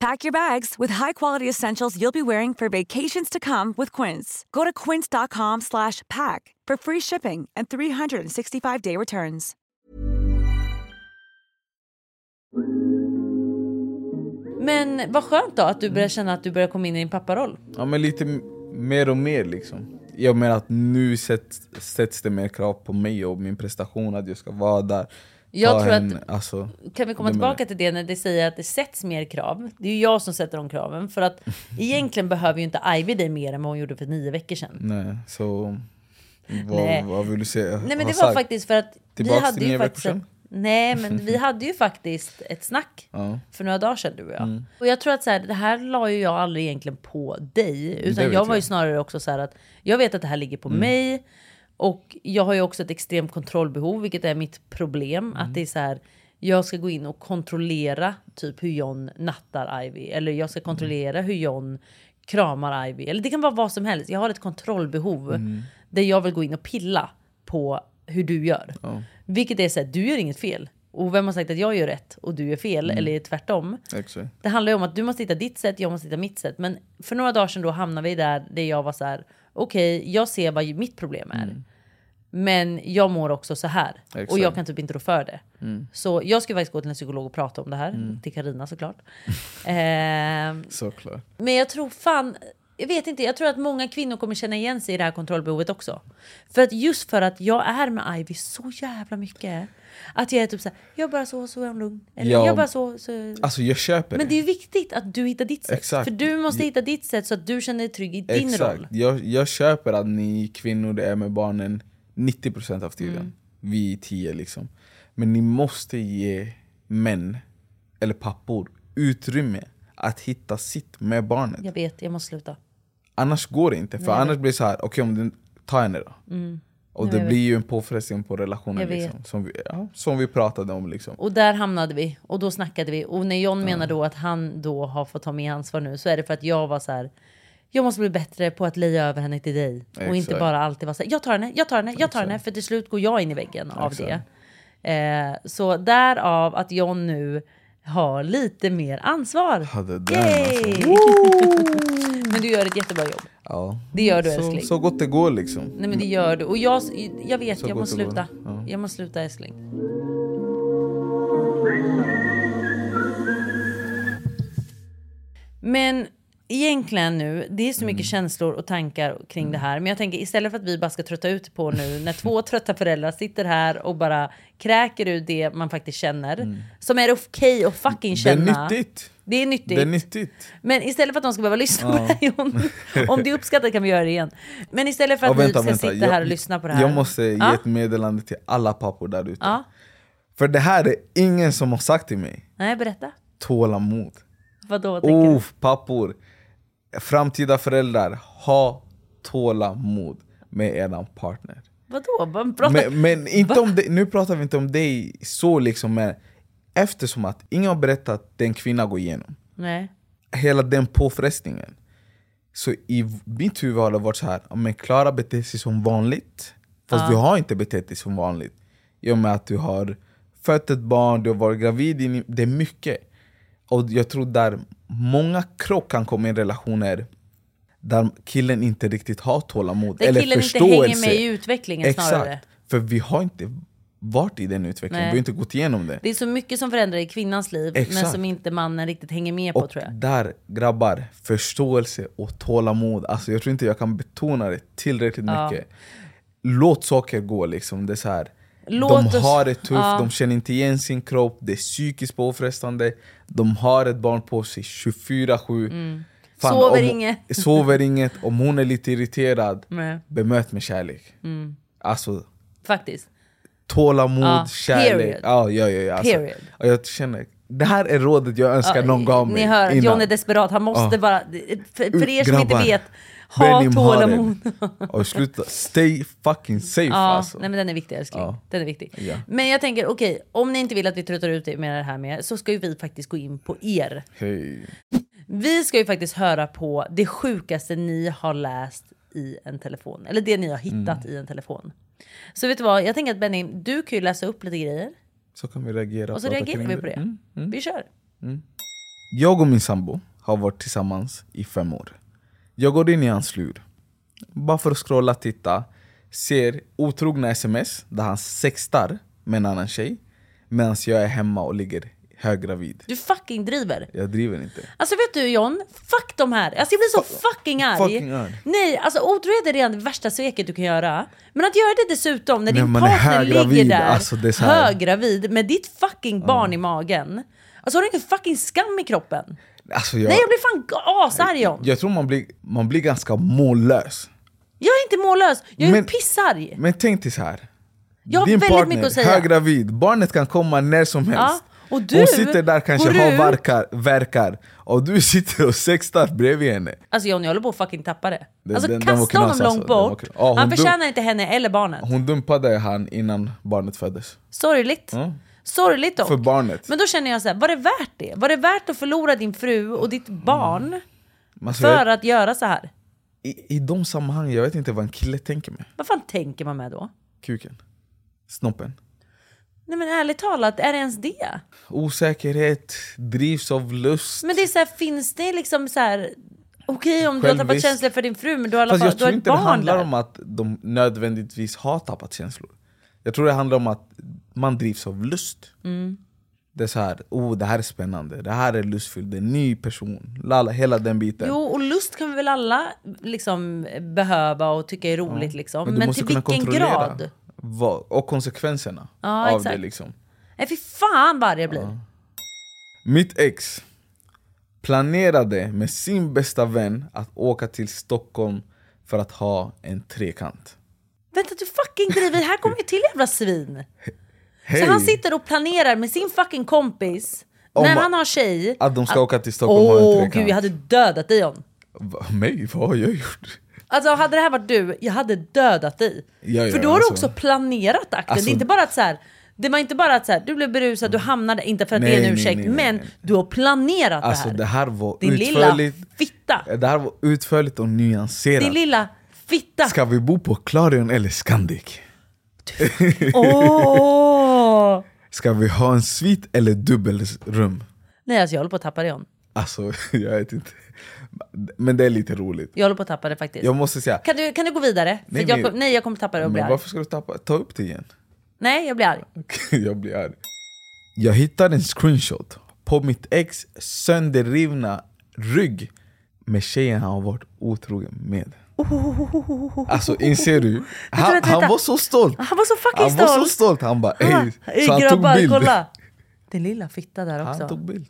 Speaker 9: Pack your bags with high-quality essentials you'll be wearing for vacations to come with Quince. Go to quince.com slash pack for free shipping and 365-day returns.
Speaker 2: Men vad skönt då att du börjar känna att du börjar komma in i din papparoll.
Speaker 3: Ja, men lite mer och mer liksom. Jag menar att nu sätts, sätts det mer krav på mig och min prestation, att jag ska vara där.
Speaker 2: Jag
Speaker 3: ta
Speaker 2: tror att-
Speaker 3: alltså,
Speaker 2: Kan vi komma
Speaker 3: du menar-
Speaker 2: tillbaka till det när det säger att det sätts mer krav? Det är ju jag som sätter de kraven. För att egentligen behöver ju inte Ivy dig mer än vad hon gjorde för nio veckor sedan.
Speaker 3: Nej, så... Vad,
Speaker 2: Nej.
Speaker 3: vad vill du säga?
Speaker 2: Nej men
Speaker 3: ha
Speaker 2: det var
Speaker 3: sagt?
Speaker 2: faktiskt för att vi
Speaker 3: Tillbaks
Speaker 2: hade
Speaker 3: till
Speaker 2: ju
Speaker 3: nio
Speaker 2: faktiskt...
Speaker 3: veckor
Speaker 2: Ett, nej men vi hade ju faktiskt ett snack
Speaker 3: Ja.
Speaker 2: för några dagar sedan du och jag.
Speaker 3: Mm.
Speaker 2: Och jag tror att så här, det här la ju jag aldrig egentligen på dig.
Speaker 3: Det
Speaker 2: Utan
Speaker 3: vet
Speaker 2: jag var ju
Speaker 3: jag.
Speaker 2: snarare också så här att jag vet att det här ligger på
Speaker 3: Mm.
Speaker 2: mig. Och jag har ju också ett extremt kontrollbehov, vilket är mitt problem.
Speaker 3: Mm.
Speaker 2: Att det är så här, jag ska gå in och kontrollera typ hur John nattar Ivy. Eller jag
Speaker 3: Mm.
Speaker 2: ska kontrollera hur John kramar Ivy. Eller det kan vara vad som helst. Jag har ett kontrollbehov
Speaker 3: Mm.
Speaker 2: där jag vill gå in och pilla på hur du gör.
Speaker 3: Ja.
Speaker 2: Vilket är så här, du gör inget fel. Och vem har sagt att jag gör rätt och du gör fel?
Speaker 3: Mm.
Speaker 2: Eller tvärtom.
Speaker 3: Exakt.
Speaker 2: Det handlar ju om att du måste hitta ditt sätt, jag måste hitta mitt sätt. Men för några dagar sedan då hamnade vi där, där jag var så här, okej, jag ser vad ju- mitt problem är. Men jag mår också så här. Och
Speaker 8: Exakt.
Speaker 2: jag kan typ inte rå för det.
Speaker 8: Mm.
Speaker 2: Så jag ska faktiskt gå till en psykolog och prata om det här.
Speaker 3: Mm.
Speaker 2: Till Karina såklart. Ehm,
Speaker 3: Såklart.
Speaker 2: men jag tror fan, jag vet inte, jag tror att många kvinnor kommer känna igen sig i det här kontrollbehovet också. För att just för att jag är med Ivy så jävla mycket. Att jag är typ såhär, jag bara så, så är hon lugn. Eller
Speaker 3: Ja.
Speaker 2: jag bara så, så...
Speaker 3: Alltså jag köper
Speaker 2: Men det är ju viktigt att du hittar ditt sätt.
Speaker 3: Exakt.
Speaker 2: För du måste
Speaker 3: Ja.
Speaker 2: hitta ditt sätt så att du känner dig trygg i din
Speaker 3: Exakt.
Speaker 2: roll.
Speaker 3: Jag, jag köper att ni kvinnor är med barnen 90% av tiden.
Speaker 2: Mm.
Speaker 3: Vi är 10 liksom. Men ni måste ge män, eller pappor, utrymme att hitta sitt med barnet.
Speaker 2: Jag vet, jag måste sluta.
Speaker 3: Annars går det inte. För
Speaker 2: Nej, jag
Speaker 3: annars blir det så här, okej om den tar henne då.
Speaker 2: Mm.
Speaker 3: Och
Speaker 2: Nej,
Speaker 3: det
Speaker 2: jag vet.
Speaker 3: blir ju en påfrestning på relationen
Speaker 2: Jag vet.
Speaker 3: liksom, som, vi, ja, som vi pratade om. Liksom.
Speaker 2: Och där hamnade vi och då snackade vi. Och när John menar då att han då har fått ta med ansvar nu så är det för att jag var så här. Jag måste bli bättre på att leja över henne till dig. Och inte
Speaker 8: Exakt.
Speaker 2: bara alltid vara så här, jag tar henne, jag tar henne, jag tar henne. För till slut går jag in i väggen av
Speaker 8: Exakt.
Speaker 2: det. Eh, så därav att John nu har lite mer ansvar.
Speaker 3: Hade den,
Speaker 2: Yay!
Speaker 3: alltså.
Speaker 2: Men du gör ett jättebra jobb.
Speaker 3: Ja.
Speaker 2: Det gör du,
Speaker 3: så,
Speaker 2: älskling.
Speaker 3: så gott det går liksom.
Speaker 2: Nej men det gör du. Och jag, jag vet,
Speaker 3: Så
Speaker 2: jag
Speaker 3: gott
Speaker 2: måste
Speaker 3: det går.
Speaker 2: sluta.
Speaker 3: Ja.
Speaker 2: Jag måste sluta älskling. Men egentligen nu, det är så mycket
Speaker 3: Mm.
Speaker 2: känslor och tankar kring det här. Men jag tänker istället för att vi bara ska trötta ut på nu när två trötta föräldrar sitter här och bara kräker ut det man faktiskt känner. Som är okej att fucking
Speaker 3: Mm. Det är
Speaker 2: känna.
Speaker 3: nyttigt.
Speaker 2: Det är nyttigt.
Speaker 3: Det är nyttigt.
Speaker 2: Men istället för att de ska behöva lyssna på
Speaker 3: Ja.
Speaker 2: det här John, om det är uppskattat kan vi göra det igen. Men istället för att
Speaker 3: Ja, vänta,
Speaker 2: vi ska
Speaker 3: vänta.
Speaker 2: sitta här och lyssna på det här.
Speaker 3: Jag måste ge
Speaker 2: ja?
Speaker 3: ett meddelande till alla pappor där ute.
Speaker 2: ja.
Speaker 3: För det här är ingen som har sagt till mig.
Speaker 2: Nej, berätta.
Speaker 3: Tålamod.
Speaker 2: Vadå, vad tänker du?
Speaker 3: Oof, pappor. Framtida föräldrar, ha tålamod med eran partner.
Speaker 2: Vadå? Vad pratar-
Speaker 3: Men, men inte om det, nu pratar vi inte om dig så liksom, men eftersom att ingen har berättat att den kvinna går igenom.
Speaker 2: Nej.
Speaker 3: hela den påfrestningen. Så i v- mitt huvud har det varit så här, ja, men Klara beter sig som vanligt. Fast
Speaker 8: Ja.
Speaker 3: du har inte betett dig som vanligt. I och med att du har fött ett barn, du har varit gravid, i ni- det är mycket. Och jag tror där många krock kan komma in i relationer där killen inte riktigt har tålamod
Speaker 2: Där
Speaker 3: eller
Speaker 2: killen inte
Speaker 3: förståelse.
Speaker 2: hänger med i utvecklingen
Speaker 3: Exakt.
Speaker 2: snarare.
Speaker 3: För vi har inte varit i den utvecklingen,
Speaker 2: Nej.
Speaker 3: vi har inte gått igenom det.
Speaker 2: Det är så mycket som förändrar i kvinnans liv men
Speaker 3: Exakt.
Speaker 2: som inte mannen riktigt hänger med på
Speaker 3: Och
Speaker 2: tror jag.
Speaker 3: där, grabbar, förståelse och tålamod. Alltså, jag tror inte jag kan betona det tillräckligt
Speaker 2: Ja.
Speaker 3: mycket. Låt saker gå liksom. Det är så här,
Speaker 2: Låt
Speaker 3: de
Speaker 2: oss-
Speaker 3: har det tufft,
Speaker 2: ja.
Speaker 3: de känner inte igen sin kropp, det är psykiskt påfrestande. De har ett barn på sig 24-7.
Speaker 2: Mm.
Speaker 3: Fan,
Speaker 2: Sover
Speaker 3: om-
Speaker 2: inget.
Speaker 3: Sover inget. Om hon är lite irriterad,
Speaker 2: Nej.
Speaker 3: bemöt med kärlek.
Speaker 2: Mm.
Speaker 3: Alltså,
Speaker 2: Faktiskt.
Speaker 3: tålamod,
Speaker 2: Ja,
Speaker 3: kärlek.
Speaker 2: period.
Speaker 3: Ja, ja, ja, ja, alltså.
Speaker 2: Period.
Speaker 3: Och jag känner, det här är rådet jag önskar
Speaker 2: Ja,
Speaker 3: någon gav mig
Speaker 2: Ni hör,
Speaker 3: innan.
Speaker 2: John är desperat. Han måste
Speaker 3: Ja.
Speaker 2: bara... För, för er som
Speaker 3: Grabbar,
Speaker 2: inte vet, ha
Speaker 3: Benim har det.
Speaker 2: tålamod.
Speaker 3: Och sluta, stay fucking safe
Speaker 2: ja,
Speaker 3: alltså.
Speaker 2: nej men den är viktig älskling.
Speaker 3: Ja.
Speaker 2: Den är viktig.
Speaker 3: Ja.
Speaker 2: Men jag tänker, okej, om ni inte vill att vi tröttar ut er med det här med så ska ju vi faktiskt gå in på er.
Speaker 3: Hej.
Speaker 2: Vi ska ju faktiskt höra på det sjukaste ni har läst i en telefon. Eller det ni har hittat
Speaker 3: Mm.
Speaker 2: i en telefon. Så vet du vad, jag tänker att Benny, du kan ju läsa upp lite grejer.
Speaker 3: Så kan vi reagera
Speaker 2: Och så
Speaker 3: prata
Speaker 2: reagerar
Speaker 3: kring
Speaker 2: vi på det.
Speaker 3: Mm.
Speaker 2: Vi kör.
Speaker 3: Jag och min sambo har varit tillsammans i fem år. Jag går in i hans lur. Bara för att scrolla, titta. Ser otrogna sms där han sextar med en annan tjej medan jag är hemma och ligger höggravid.
Speaker 2: Du fucking driver.
Speaker 3: Jag driver inte.
Speaker 2: Alltså vet du John, fuck de här. Alltså jag blir så fucking arg.
Speaker 3: Fucking arg.
Speaker 2: Nej, alltså otrohet är redan det värsta sveket du kan göra. Men att göra det dessutom när
Speaker 3: När
Speaker 2: din
Speaker 3: man är
Speaker 2: partner ligger
Speaker 3: höggravid,
Speaker 2: där,
Speaker 3: alltså det är så här-
Speaker 2: höggravid, med ditt fucking barn i magen. Alltså har du ingen fucking skam i kroppen?
Speaker 3: Alltså jag,
Speaker 2: Nej jag blir fan ga- asarg John.
Speaker 3: jag tror man blir, man blir ganska mållös.
Speaker 2: Jag är inte mållös, jag är
Speaker 3: Men-
Speaker 2: pissarg.
Speaker 3: Men tänk dig så här.
Speaker 2: Jag har väldigt mycket att säga.
Speaker 3: höggravid, barnet kan komma när som helst.
Speaker 2: Ja, och du
Speaker 3: Hon sitter där kanske
Speaker 2: går
Speaker 3: har
Speaker 2: ut-
Speaker 3: verkar, verkar och du sitter och sextar bredvid henne.
Speaker 2: Alltså John, jag håller på att fucking tappa det.
Speaker 3: Den-
Speaker 2: Alltså
Speaker 3: den- den var
Speaker 2: kasta honom
Speaker 3: knas, alltså.
Speaker 2: långt
Speaker 3: Den var
Speaker 2: bort.
Speaker 3: knas. Ja, hon
Speaker 2: Han
Speaker 3: dum-
Speaker 2: förtjänar inte henne eller barnet.
Speaker 3: Hon dumpade han innan barnet föddes.
Speaker 2: Sorgligt.
Speaker 3: Mm.
Speaker 2: Sorgligt dock.
Speaker 3: För barnet.
Speaker 2: Men då känner jag så här, var det värt det? Var det värt att förlora din fru och ditt
Speaker 3: Mm.
Speaker 2: barn
Speaker 3: Men alltså,
Speaker 2: för
Speaker 3: jag-
Speaker 2: att göra så här?
Speaker 3: I, I de sammanhang, jag vet inte vad en kille tänker med.
Speaker 2: Vad fan tänker man med då?
Speaker 3: Kuken. Snoppen.
Speaker 2: Nej men ärligt talat, är det ens det?
Speaker 3: Osäkerhet, drivs av lust.
Speaker 2: Men det är så här, finns det liksom så här... Okej om du har tappat
Speaker 3: Självvis-
Speaker 2: känslor för din fru men du har, i alla
Speaker 3: Fast
Speaker 2: fall,
Speaker 3: jag
Speaker 2: du har
Speaker 3: tror
Speaker 2: ett
Speaker 3: inte det
Speaker 2: barn
Speaker 3: handlar
Speaker 2: där.
Speaker 3: om att de nödvändigtvis har tappat känslor. Jag tror det handlar om att man drivs av lust.
Speaker 2: Mm.
Speaker 3: Det är så här, oh det här är spännande, det här är lustfyllt, det är en ny person, lala, hela den biten.
Speaker 2: Jo, och lust kan vi väl alla liksom, behöva och tycka är roligt. Liksom. Men,
Speaker 3: du måste
Speaker 2: till
Speaker 3: kunna
Speaker 2: vilken
Speaker 3: kontrollera
Speaker 2: grad?
Speaker 3: vad- och konsekvenserna
Speaker 2: Ja,
Speaker 3: av
Speaker 2: exakt.
Speaker 3: det. liksom
Speaker 2: Nej, fy fan vad arg jag blir.
Speaker 3: Mitt ex planerade med sin bästa vän att åka till Stockholm för att ha en trekant.
Speaker 2: Vänta, du fucking driver. Här kommer ju till jävla svin.
Speaker 3: Hej!
Speaker 2: Så han sitter och planerar med sin fucking kompis,
Speaker 3: Om
Speaker 2: när
Speaker 3: att-
Speaker 2: han har tjej...
Speaker 3: att de ska åka till Stockholm och ha en
Speaker 2: Åh,
Speaker 3: trekant.
Speaker 2: gud, jag hade dödat dig John.
Speaker 3: Va, mig? Vad har jag gjort?
Speaker 2: Alltså hade det här varit du, jag hade dödat dig.
Speaker 3: Ja, ja,
Speaker 2: För då har du
Speaker 3: alltså.
Speaker 2: också planerat akten.
Speaker 3: Alltså- Mm.
Speaker 2: det är inte bara att så här, det var inte bara att så här, du blev berusad, du hamnade, inte för att det
Speaker 3: Nej,
Speaker 2: är en
Speaker 3: nej,
Speaker 2: ursäkt,
Speaker 3: nej, nej,
Speaker 2: men du har planerat
Speaker 3: Alltså
Speaker 2: det här.
Speaker 3: det här var
Speaker 2: Din lilla
Speaker 3: utförligt.
Speaker 2: fitta.
Speaker 3: Det här var utförligt och nyanserat.
Speaker 2: Din lilla fitta.
Speaker 3: Ska vi bo på Clarion eller Scandic?
Speaker 2: Åh!
Speaker 3: Ska vi ha en svit eller dubbelrum?
Speaker 2: Nej alltså jag håller på att tappa det John.
Speaker 3: Alltså jag vet inte. Men det är lite roligt.
Speaker 2: Jag håller på att tappa det faktiskt.
Speaker 3: Jag måste säga,
Speaker 2: Kan, du, kan du gå vidare? För
Speaker 3: Nej,
Speaker 2: jag,
Speaker 3: men-
Speaker 2: kom- nej jag kommer tappa det och bli
Speaker 3: men
Speaker 2: arg.
Speaker 3: varför ska du tappa? ta upp det igen?
Speaker 2: Nej jag blir arg.
Speaker 3: jag blir arg. Jag hittade en screenshot på mitt ex sönderrivna rygg med tjejen han har varit otrogen med.
Speaker 2: Oh.
Speaker 3: Alltså inser du? Han,
Speaker 2: vänta,
Speaker 3: han
Speaker 2: vänta.
Speaker 3: var så stolt!
Speaker 2: Ah, Han var så fucking
Speaker 3: Han var så
Speaker 2: stolt.
Speaker 3: stolt! Han bara ey!
Speaker 2: Ey,
Speaker 3: Så han tog
Speaker 2: grabbar,
Speaker 3: bild.
Speaker 2: kolla! Den lilla fitta där också.
Speaker 3: Han tog bild.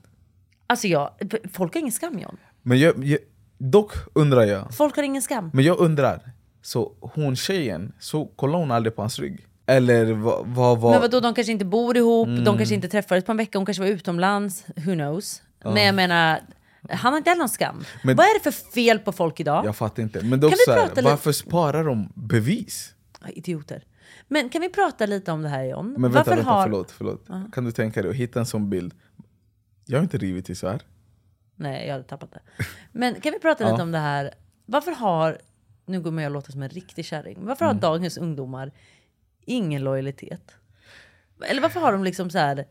Speaker 2: Alltså jag, folk har ingen skam John.
Speaker 3: Men jag, jag, dock undrar jag,
Speaker 2: Folk har ingen skam.
Speaker 3: men jag undrar, så hon tjejen, så kollade hon aldrig på hans rygg? Eller vad vad var...
Speaker 2: Men vadå, de kanske inte bor ihop, de
Speaker 3: Mm.
Speaker 2: kanske inte träffades på en vecka, hon kanske var utomlands, who knows.
Speaker 3: Ja.
Speaker 2: Men jag menar, han har inte heller någon skam.
Speaker 3: Men-
Speaker 2: Vad är det för fel på folk idag?
Speaker 3: Jag fattar inte. Men då
Speaker 2: Kan vi
Speaker 3: så här,
Speaker 2: prata lite-
Speaker 3: varför sparar de bevis?
Speaker 2: Ja, Idioter. Men kan vi prata lite om det här John?
Speaker 3: Men vänta,
Speaker 2: Varför
Speaker 3: vänta
Speaker 2: har-
Speaker 3: förlåt. förlåt.
Speaker 2: Ja.
Speaker 3: Kan du tänka dig att hitta en sån bild? Jag har inte rivit isär.
Speaker 2: Nej, jag hade tappat det. Men kan vi prata
Speaker 3: Ja.
Speaker 2: lite om det här? Varför har, nu kommer jag låta som en riktig kärring, varför har
Speaker 3: Mm.
Speaker 2: dagens ungdomar ingen lojalitet? Eller varför har de liksom så här, nej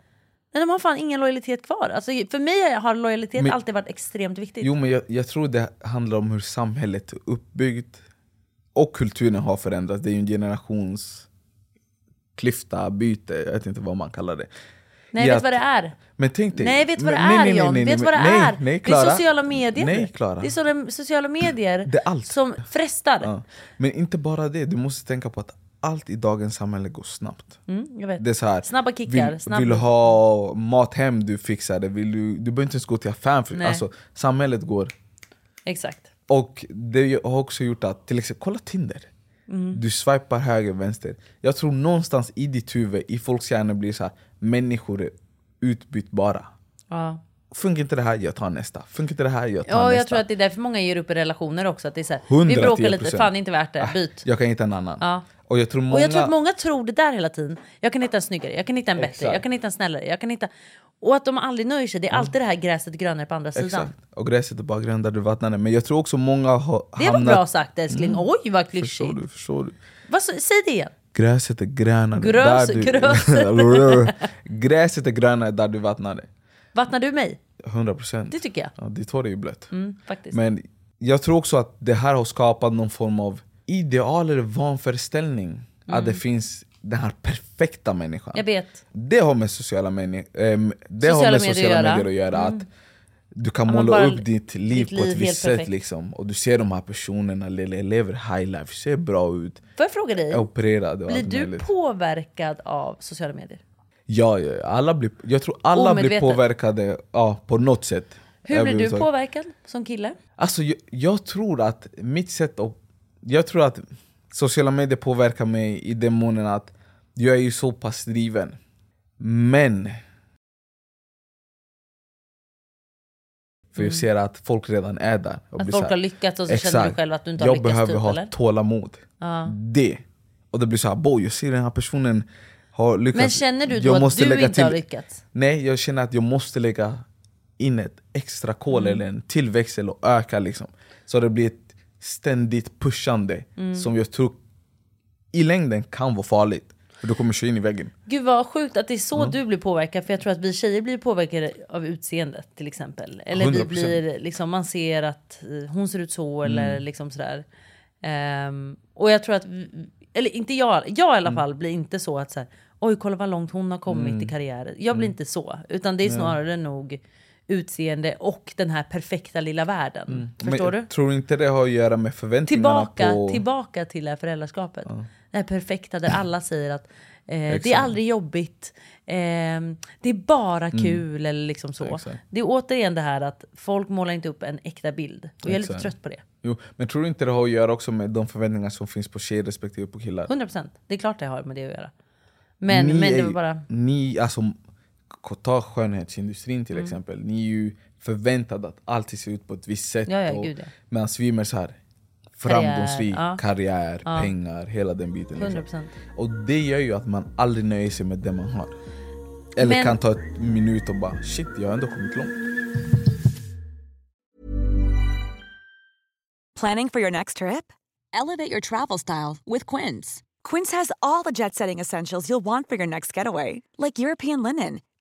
Speaker 2: de har fan ingen lojalitet kvar. Alltså, för mig har lojalitet
Speaker 3: Men-
Speaker 2: alltid varit extremt viktigt.
Speaker 3: Jo men jag, jag tror det handlar om hur samhället är uppbyggt och kulturen har förändrats. Det är ju en generations klyfta, byte, jag vet inte vad man kallar det.
Speaker 2: nej,
Speaker 3: I
Speaker 2: vet
Speaker 3: att-
Speaker 2: du vad det är?
Speaker 3: Men tänk dig.
Speaker 2: Nej, vet du vad det
Speaker 3: men- nej,
Speaker 2: är
Speaker 3: nej, nej,
Speaker 2: John?
Speaker 3: nej,
Speaker 2: Vet du
Speaker 3: nej,
Speaker 2: vad det
Speaker 3: nej,
Speaker 2: är?
Speaker 3: Nej,
Speaker 2: det är
Speaker 3: Klara.
Speaker 2: sociala medier.
Speaker 3: Nej, Klara.
Speaker 2: Det är sådana sociala medier
Speaker 3: Det är allt.
Speaker 2: som frestar.
Speaker 3: Ja. Men inte bara det, du måste tänka på att allt i dagens samhälle går snabbt.
Speaker 2: Mm, jag vet.
Speaker 3: Det är så här,
Speaker 2: Snabba kickar.
Speaker 3: Vill,
Speaker 2: snabb...
Speaker 3: vill du ha mat hem, du fixar det. Vill du, du behöver inte ens gå till affären. För,
Speaker 2: Nej.
Speaker 3: alltså, samhället går.
Speaker 2: Exakt.
Speaker 3: Och det har också gjort att, till exempel, kolla Tinder.
Speaker 2: Mm.
Speaker 3: Du swipar höger, vänster. Jag tror någonstans i ditt huvud, i folks hjärnor blir så här, människor är utbytbara.
Speaker 2: Ja.
Speaker 3: Funkar inte det här, jag tar nästa. Funkar inte det här, jag tar
Speaker 2: Ja,
Speaker 3: nästa.
Speaker 2: jag tror att det är därför många ger upp i relationer också. Att det är så här,
Speaker 3: 110%.
Speaker 2: vi bråkar lite, fan inte värt det, byt.
Speaker 3: Ah, Jag kan hitta en annan.
Speaker 2: Ja.
Speaker 3: Och jag tror många...
Speaker 2: Och jag tror att många tror det där hela tiden. Jag kan hitta en snyggare, jag kan hitta en bättre,
Speaker 3: Exakt.
Speaker 2: jag kan hitta en snällare, jag kan hitta... Och att de aldrig nöjer sig. Det är alltid det här gräset grönare på andra sidan.
Speaker 3: Exakt. Och gräset är bara grönt där du vattnar det. Men jag tror också många har
Speaker 2: Det var
Speaker 3: hamnat...
Speaker 2: bra sagt älskling.
Speaker 3: Mm.
Speaker 2: Oj vad
Speaker 3: Förstår
Speaker 2: klyschigt.
Speaker 3: du? Förstår du?
Speaker 2: Vad så- Säg det igen.
Speaker 3: Gräset är grönare
Speaker 2: Grös-
Speaker 3: där
Speaker 2: gröset.
Speaker 3: du... gräset är grönare där du vattnar det.
Speaker 2: Vattnar du mig?
Speaker 3: 100 procent.
Speaker 2: Det tycker jag.
Speaker 3: Ja, ditt hår är ju blött.
Speaker 2: Mm, faktiskt.
Speaker 3: Men jag tror också att det här har skapat någon form av ideal eller vanföreställning. Att det finns den här perfekta människan.
Speaker 2: Mm. Jag vet.
Speaker 3: Det har med sociala, medi- ehm, det
Speaker 2: Sociala
Speaker 3: har med
Speaker 2: medier
Speaker 3: sociala
Speaker 2: att göra.
Speaker 3: medier att göra.
Speaker 2: Mm.
Speaker 3: Att du kan
Speaker 2: Ja, men
Speaker 3: måla
Speaker 2: bara
Speaker 3: upp ditt liv
Speaker 2: ditt
Speaker 3: på
Speaker 2: liv
Speaker 3: ett visst
Speaker 2: helt
Speaker 3: sätt.
Speaker 2: perfekt.
Speaker 3: Liksom. Och du ser de här personerna le- lever high life, ser bra ut,
Speaker 2: Får jag fråga dig?
Speaker 3: är opererade och
Speaker 2: Mm. Blir
Speaker 3: allt
Speaker 2: du
Speaker 3: möjligt.
Speaker 2: påverkad av sociala medier?
Speaker 3: Ja, ja, ja. alla blir, jag tror alla blir
Speaker 2: Omedvetet.
Speaker 3: påverkade ja, på något sätt.
Speaker 2: Hur blir du
Speaker 3: Överhuvudtaget.
Speaker 2: påverkad som kille?
Speaker 3: Alltså jag, jag tror att mitt sätt att... Jag tror att sociala medier påverkar mig i den månen att jag är ju så pass driven. Men... För
Speaker 2: Mm.
Speaker 3: jag ser att folk redan är där. och
Speaker 2: Att
Speaker 3: blir
Speaker 2: folk
Speaker 3: så
Speaker 2: har lyckats och så känner du själv att du inte har
Speaker 3: jag
Speaker 2: lyckats
Speaker 3: behöver
Speaker 2: typ,
Speaker 3: ha
Speaker 2: eller?"
Speaker 3: tålamod.
Speaker 2: Ja.
Speaker 3: Det. Och det blir så här, "Bo, jag ser den här personen har lyckats.
Speaker 2: Men känner du då
Speaker 3: Jag
Speaker 2: att
Speaker 3: måste
Speaker 2: du
Speaker 3: lägga
Speaker 2: inte har lyckats?
Speaker 3: Nej, jag känner att jag måste lägga in ett extra kol
Speaker 2: Mm.
Speaker 3: eller en tillväxel och öka liksom. Så det blir ett ständigt pushande
Speaker 2: Mm.
Speaker 3: som jag tror i längden kan vara farligt. För du kommer köra in i väggen.
Speaker 2: Gud vad sjukt att det är så
Speaker 3: Mm.
Speaker 2: du blir påverkad. För jag tror att vi tjejer blir påverkade av utseendet till exempel. Eller vi
Speaker 3: 100%.
Speaker 2: blir, liksom, man ser att eh, hon ser ut så eller
Speaker 3: Mm.
Speaker 2: liksom sådär. Ehm, och jag tror att, vi- eller inte jag, jag
Speaker 3: Mm.
Speaker 2: i alla fall blir inte så att så här, oj kolla vad långt hon har kommit
Speaker 10: Mm.
Speaker 2: i karriären. Jag blir
Speaker 10: Mm.
Speaker 2: inte så, utan det är
Speaker 3: Nej.
Speaker 2: snarare nog utseende och den här perfekta lilla världen. Förstår
Speaker 3: Mm. Men
Speaker 2: du?
Speaker 3: jag tror inte det har att göra med förväntningarna
Speaker 2: tillbaka,
Speaker 3: på...
Speaker 2: tillbaka till det här föräldraskapet. Det här perfekta där alla säger att eh, det
Speaker 3: Exakt.
Speaker 2: är aldrig jobbigt, eh, det är bara
Speaker 10: Mm.
Speaker 2: kul eller liksom så.
Speaker 3: Exakt.
Speaker 2: Det är återigen det här att folk målar inte upp en äkta bild. Och jag är lite
Speaker 3: Exakt.
Speaker 2: trött på det.
Speaker 3: Jo, men tror du inte det har att göra också med de förväntningar som finns på tjejer respektive på killar?
Speaker 2: 100%. Det är klart det har med det att göra. Men,
Speaker 3: Ni
Speaker 2: men
Speaker 3: är
Speaker 2: det
Speaker 3: ju-
Speaker 2: var bara...
Speaker 3: Ni, alltså, k- ta skönhetsindustrin till
Speaker 2: Mm.
Speaker 3: exempel. Ni är ju förväntade att alltid se ut på ett visst sätt.
Speaker 2: Ja, ja,
Speaker 3: och-
Speaker 2: gud, ja.
Speaker 3: Medan vi är mer så här
Speaker 2: Karriär,
Speaker 3: framgångsrik,
Speaker 2: ja.
Speaker 3: karriär,
Speaker 2: Ja.
Speaker 3: pengar, hela den biten. liksom.
Speaker 2: 100%.
Speaker 3: Och det gör ju att man aldrig nöjer sig med det man har. Eller
Speaker 2: Men-
Speaker 3: kan ta en minut och bara shit, jag har ändå kommit långt.
Speaker 11: Planning for your next trip? Elevate your travel style with Quince.
Speaker 9: Quince has all the jet setting essentials you'll want for your next getaway, like European linen,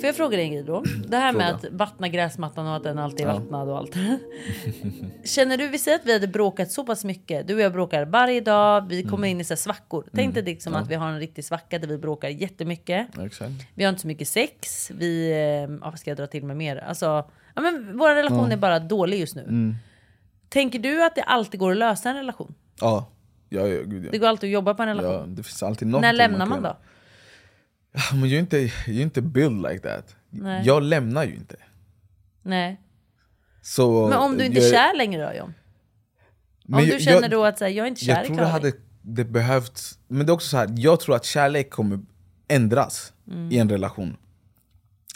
Speaker 2: Får jag fråga dig en grej då? Det här med
Speaker 10: Fråga.
Speaker 2: att vattna gräsmattan och att den alltid är
Speaker 10: Ja.
Speaker 2: vattnad och allt. Känner du, vi säger att vi hade bråkat så pass mycket. Du och jag bråkar varje dag, vi kommer
Speaker 10: Mm.
Speaker 2: in i så här svackor. Tänk dig
Speaker 10: Mm.
Speaker 2: liksom
Speaker 10: Ja.
Speaker 2: att vi har en riktig svacka där vi bråkar jättemycket.
Speaker 3: Exakt.
Speaker 2: Vi har inte så mycket sex, vi, eh, ja, vad ska jag dra till med mer? Alltså, ja, men vår relation
Speaker 3: Ja.
Speaker 2: är bara dålig just nu.
Speaker 3: Mm.
Speaker 2: Tänker du att det alltid går att lösa en relation?
Speaker 3: Ja, ja, ja, gud, ja.
Speaker 2: Det går alltid att jobba på en relation.
Speaker 3: Ja, det finns alltid någonting
Speaker 2: När lämnar
Speaker 3: kan
Speaker 2: man
Speaker 3: göra.
Speaker 2: då?
Speaker 3: Ja, Men jag är inte, jag är inte build like that.
Speaker 2: Nej.
Speaker 3: Jag lämnar ju inte.
Speaker 2: Nej.
Speaker 3: Så
Speaker 2: Men om du inte är
Speaker 3: jag-
Speaker 2: kär längre då John? Om
Speaker 3: Men
Speaker 2: du
Speaker 3: jag-
Speaker 2: känner
Speaker 3: jag-
Speaker 2: då att så här, jag är inte kär
Speaker 3: Jag
Speaker 2: i
Speaker 3: tror det
Speaker 2: Karin.
Speaker 3: hade det behövts, men det är också så här, jag tror att kärlek kommer ändras
Speaker 2: Mm.
Speaker 3: i en relation.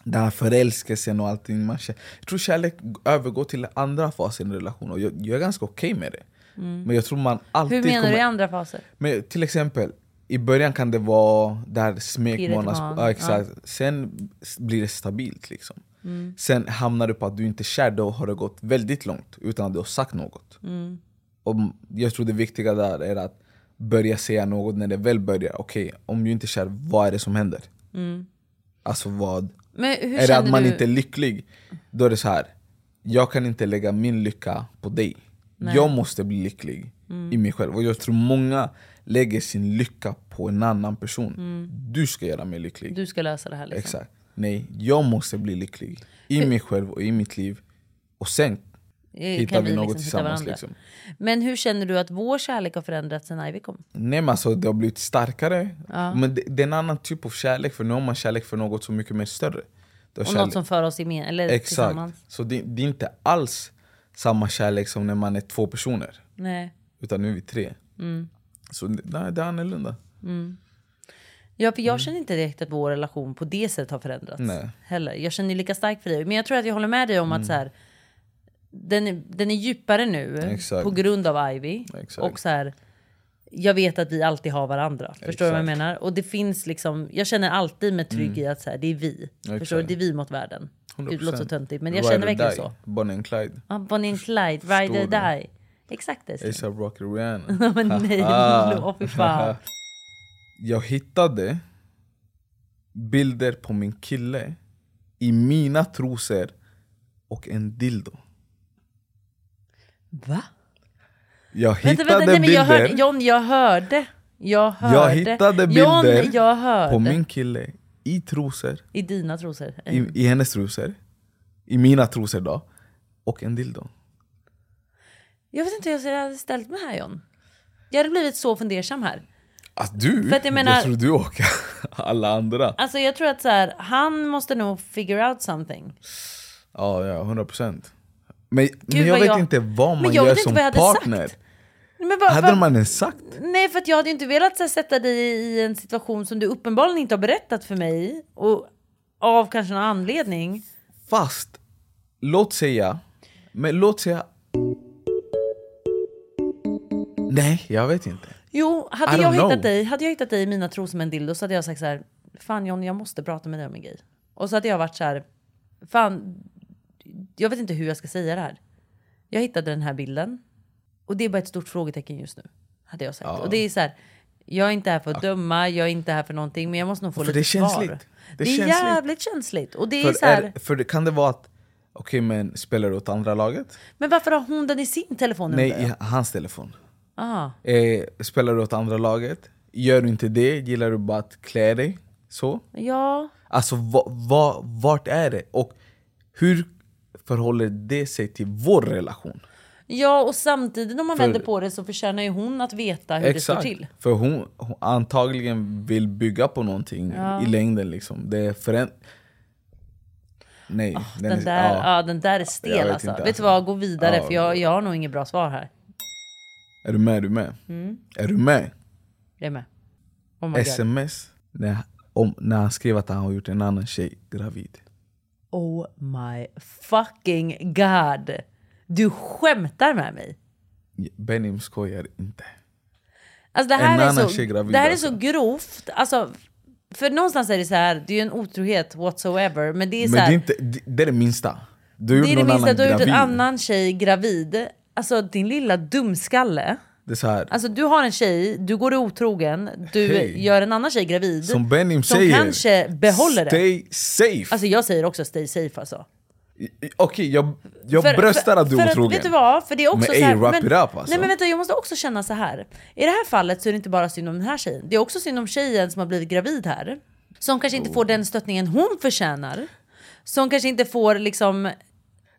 Speaker 3: Den här förälskelsen och allting. Man känner, jag tror kärlek övergår till den andra fasen i en relation och jag, jag är ganska okej med det.
Speaker 2: Mm.
Speaker 3: Men jag tror man alltid
Speaker 2: Hur menar
Speaker 3: kommer...
Speaker 2: du i andra faser?
Speaker 3: Men till exempel, i början kan det vara där smekmånads...
Speaker 2: Pirret i magen,
Speaker 3: Ja, exakt. Sen s- blir det stabilt liksom.
Speaker 2: Mm.
Speaker 3: Sen hamnar du på att du inte är kär, då har det gått väldigt långt utan att du har sagt något.
Speaker 2: Mm.
Speaker 3: Och m- jag tror det viktiga där är att börja säga något när det väl börjar. Okej, om du inte är kär, vad är det som händer?
Speaker 2: Mm.
Speaker 3: Alltså vad?
Speaker 2: Men hur
Speaker 3: är det
Speaker 2: känner
Speaker 3: att man
Speaker 2: du-
Speaker 3: inte är lycklig, då är det så här. Jag kan inte lägga min lycka på dig.
Speaker 2: Nej.
Speaker 3: Jag måste bli lycklig
Speaker 2: Mm.
Speaker 3: i mig själv. Och jag tror många lägger sin lycka på en annan person.
Speaker 2: Mm.
Speaker 3: Du ska göra mig lycklig.
Speaker 2: Du ska lösa det här liksom.
Speaker 3: Exakt. Nej, jag måste bli lycklig. I mig själv och i mitt liv. Och sen
Speaker 2: Eh,
Speaker 3: hittar
Speaker 2: kan
Speaker 3: vi
Speaker 2: vi
Speaker 3: något
Speaker 2: liksom hitta
Speaker 3: tillsammans.
Speaker 2: varandra.
Speaker 3: Liksom.
Speaker 2: Men hur känner du att vår kärlek har förändrats sen Ivy kom?
Speaker 3: Nej men alltså det har blivit starkare.
Speaker 2: Ja.
Speaker 3: Men det, det är en annan typ av kärlek. För nu har man kärlek för något så mycket mer större. Det är
Speaker 2: Och
Speaker 3: kärlek-
Speaker 2: något som för oss gemen, eller
Speaker 3: Exakt.
Speaker 2: tillsammans?
Speaker 3: Så det, det är inte alls samma kärlek som när man är två personer.
Speaker 2: Nej.
Speaker 3: Utan nu är vi tre.
Speaker 2: Mm.
Speaker 3: Så det, nej, det är annorlunda.
Speaker 2: Mm. Ja, för jag känner inte direkt att vår relation på det sättet har förändrats.
Speaker 3: Mm. Nej.
Speaker 2: Heller. Jag känner ju lika starkt för dig. Men jag tror att jag håller med dig om
Speaker 3: Mm.
Speaker 2: att så här, den, är, den är djupare nu
Speaker 3: Exakt.
Speaker 2: på grund av Ivy.
Speaker 3: Exakt.
Speaker 2: Och så här, jag vet att vi alltid har varandra. Förstår du vad jag
Speaker 3: Exakt.
Speaker 2: menar? Och det finns liksom, jag känner alltid mig trygg i
Speaker 3: Mm.
Speaker 2: att så här, det är vi.
Speaker 3: Exakt.
Speaker 2: Förstår du? Det är vi mot världen. Gud, det låter så töntigt, men jag
Speaker 3: Ride
Speaker 2: känner
Speaker 3: or
Speaker 2: verkligen
Speaker 3: die.
Speaker 2: så. Ah,
Speaker 3: Bonnie and Clyde.
Speaker 2: Ja, Bonnie and Clyde, Ride or
Speaker 3: Förstår du?
Speaker 2: Die. Exakt det. Sten.
Speaker 3: ASAP Rocky Rihanna.
Speaker 2: Men nej,
Speaker 3: Haha.
Speaker 2: Lilo, fy fan.
Speaker 3: jag hittade bilder på min kille i mina trosor och en dildo.
Speaker 2: Va?
Speaker 3: Jag
Speaker 2: Vänta,
Speaker 3: hittade
Speaker 2: vänta, nej, men
Speaker 3: bilder,
Speaker 2: jag hörde, John, jag hörde. Jag hörde.
Speaker 3: jag hittade bilder
Speaker 2: John, jag hörde.
Speaker 3: på min kille i trosor,
Speaker 2: I dina trosor. Mm.
Speaker 3: i, i hennes trosor, i mina trosor då, och en dildo.
Speaker 2: Jag vet inte hur jag skulle ha ställt mig här John. Jag hade blivit så fundersam här.
Speaker 3: Alltså du?
Speaker 2: För att jag menar-
Speaker 3: tror du och alla andra.
Speaker 2: Alltså jag tror att så här, han måste nog figure out something.
Speaker 3: Ja, ja, 100 procent. Men, men
Speaker 2: vad
Speaker 3: jag vet
Speaker 2: jag-
Speaker 3: inte vad
Speaker 2: Men
Speaker 3: man
Speaker 2: jag
Speaker 3: gör
Speaker 2: vet inte
Speaker 3: som
Speaker 2: vad jag hade
Speaker 3: partner.
Speaker 2: Nej, Men vad-
Speaker 3: Hade
Speaker 2: vad-
Speaker 3: man ens sagt?
Speaker 2: Nej för att jag hade ju inte velat så här, sätta dig i en situation som du uppenbarligen inte har berättat för mig. Och av kanske någon anledning.
Speaker 3: Fast, låt säga, men låt säga... Nej, jag vet inte.
Speaker 2: Jo,
Speaker 3: I
Speaker 2: hade
Speaker 3: don't
Speaker 2: jag, hittat
Speaker 3: know.
Speaker 2: dig, hade jag hittat dig i mina trosor med en dildo så hade jag sagt så här, fan John jag måste prata med dig om en grej. Och så hade jag varit så här, fan, jag vet inte hur jag ska säga det här. Jag hittade den här bilden och det är bara ett stort frågetecken just nu. Hade jag sagt.
Speaker 3: Ja.
Speaker 2: Och det är så här, jag är inte här för att döma, jag är inte här för någonting men jag måste nog få
Speaker 3: För
Speaker 2: lite
Speaker 3: det är
Speaker 2: svar.
Speaker 3: känsligt.
Speaker 2: Det
Speaker 3: Det
Speaker 2: är,
Speaker 3: är känsligt.
Speaker 2: jävligt känsligt. Och det är
Speaker 3: för
Speaker 2: så här,
Speaker 3: för det, kan det vara att, okej men spelar du åt andra laget?
Speaker 2: men varför har hon den i sin telefon?
Speaker 3: Nej,
Speaker 2: undrar
Speaker 3: i
Speaker 2: jag?
Speaker 3: hans telefon.
Speaker 2: Ah.
Speaker 3: Eh, spelar du åt andra laget? Gör du inte det, gillar du bara att klä dig så?
Speaker 2: Ja,
Speaker 3: Alltså va, va, vart är det? Och hur förhåller det sig till vår relation?
Speaker 2: ja, och samtidigt om man
Speaker 3: För-
Speaker 2: vänder på det så förtjänar ju hon att veta hur det står till.
Speaker 3: För hon, hon antagligen vill bygga på någonting
Speaker 2: Ja.
Speaker 3: i längden liksom. Det är föränd... Nej.
Speaker 2: Ah, Den,
Speaker 3: är-
Speaker 2: där,
Speaker 3: ja.
Speaker 2: ja. den där är stel
Speaker 3: Jag vet
Speaker 2: alltså.
Speaker 3: inte,
Speaker 2: Vet du vad, gå vidare
Speaker 3: Ja.
Speaker 2: för jag, jag har nog inget bra svar här.
Speaker 3: Är du med? Är du med?
Speaker 2: Mm.
Speaker 3: Är du med?
Speaker 2: Det är med. Oh my god.
Speaker 3: Sms när, om, när han skrev att han har gjort en annan tjej gravid.
Speaker 2: Oh my fucking god. Du skämtar med mig.
Speaker 3: Benim skojar inte.
Speaker 2: Alltså det
Speaker 3: En
Speaker 2: här, är
Speaker 3: annan
Speaker 2: så,
Speaker 3: tjej gravid,
Speaker 2: det här är
Speaker 3: alltså.
Speaker 2: så grovt. Alltså, för någonstans är det så här, det är ju en otrohet whatsoever. Men det är
Speaker 3: Men
Speaker 2: så
Speaker 3: det
Speaker 2: här,
Speaker 3: är, inte, det, det är det minsta. Du har
Speaker 2: det, är
Speaker 3: gjort
Speaker 2: det
Speaker 3: någon
Speaker 2: minsta
Speaker 3: annan
Speaker 2: du har gjort
Speaker 3: gravid.
Speaker 2: en annan tjej gravid. Alltså din lilla dumskalle.
Speaker 3: Det är så här.
Speaker 2: Alltså du har en tjej, du går otrogen, du
Speaker 3: Hej.
Speaker 2: gör en annan tjej gravid.
Speaker 3: som Benim
Speaker 2: som
Speaker 3: säger.
Speaker 2: kanske behåller det.
Speaker 3: stay safe.
Speaker 2: Alltså jag säger också stay safe alltså.
Speaker 3: Okej, jag, jag bröstar att du
Speaker 2: för
Speaker 3: är otrogen.
Speaker 2: Vet du vad? För det är också
Speaker 3: Men
Speaker 2: så här,
Speaker 3: ey, wrap it up, alltså.
Speaker 2: Nej men vänta, jag måste också känna så här. I det här fallet så är det inte bara synd om den här tjejen. Det är också synd om tjejen som har blivit gravid här. Som kanske inte får
Speaker 3: Oh.
Speaker 2: den stöttningen hon förtjänar. Som kanske inte får liksom...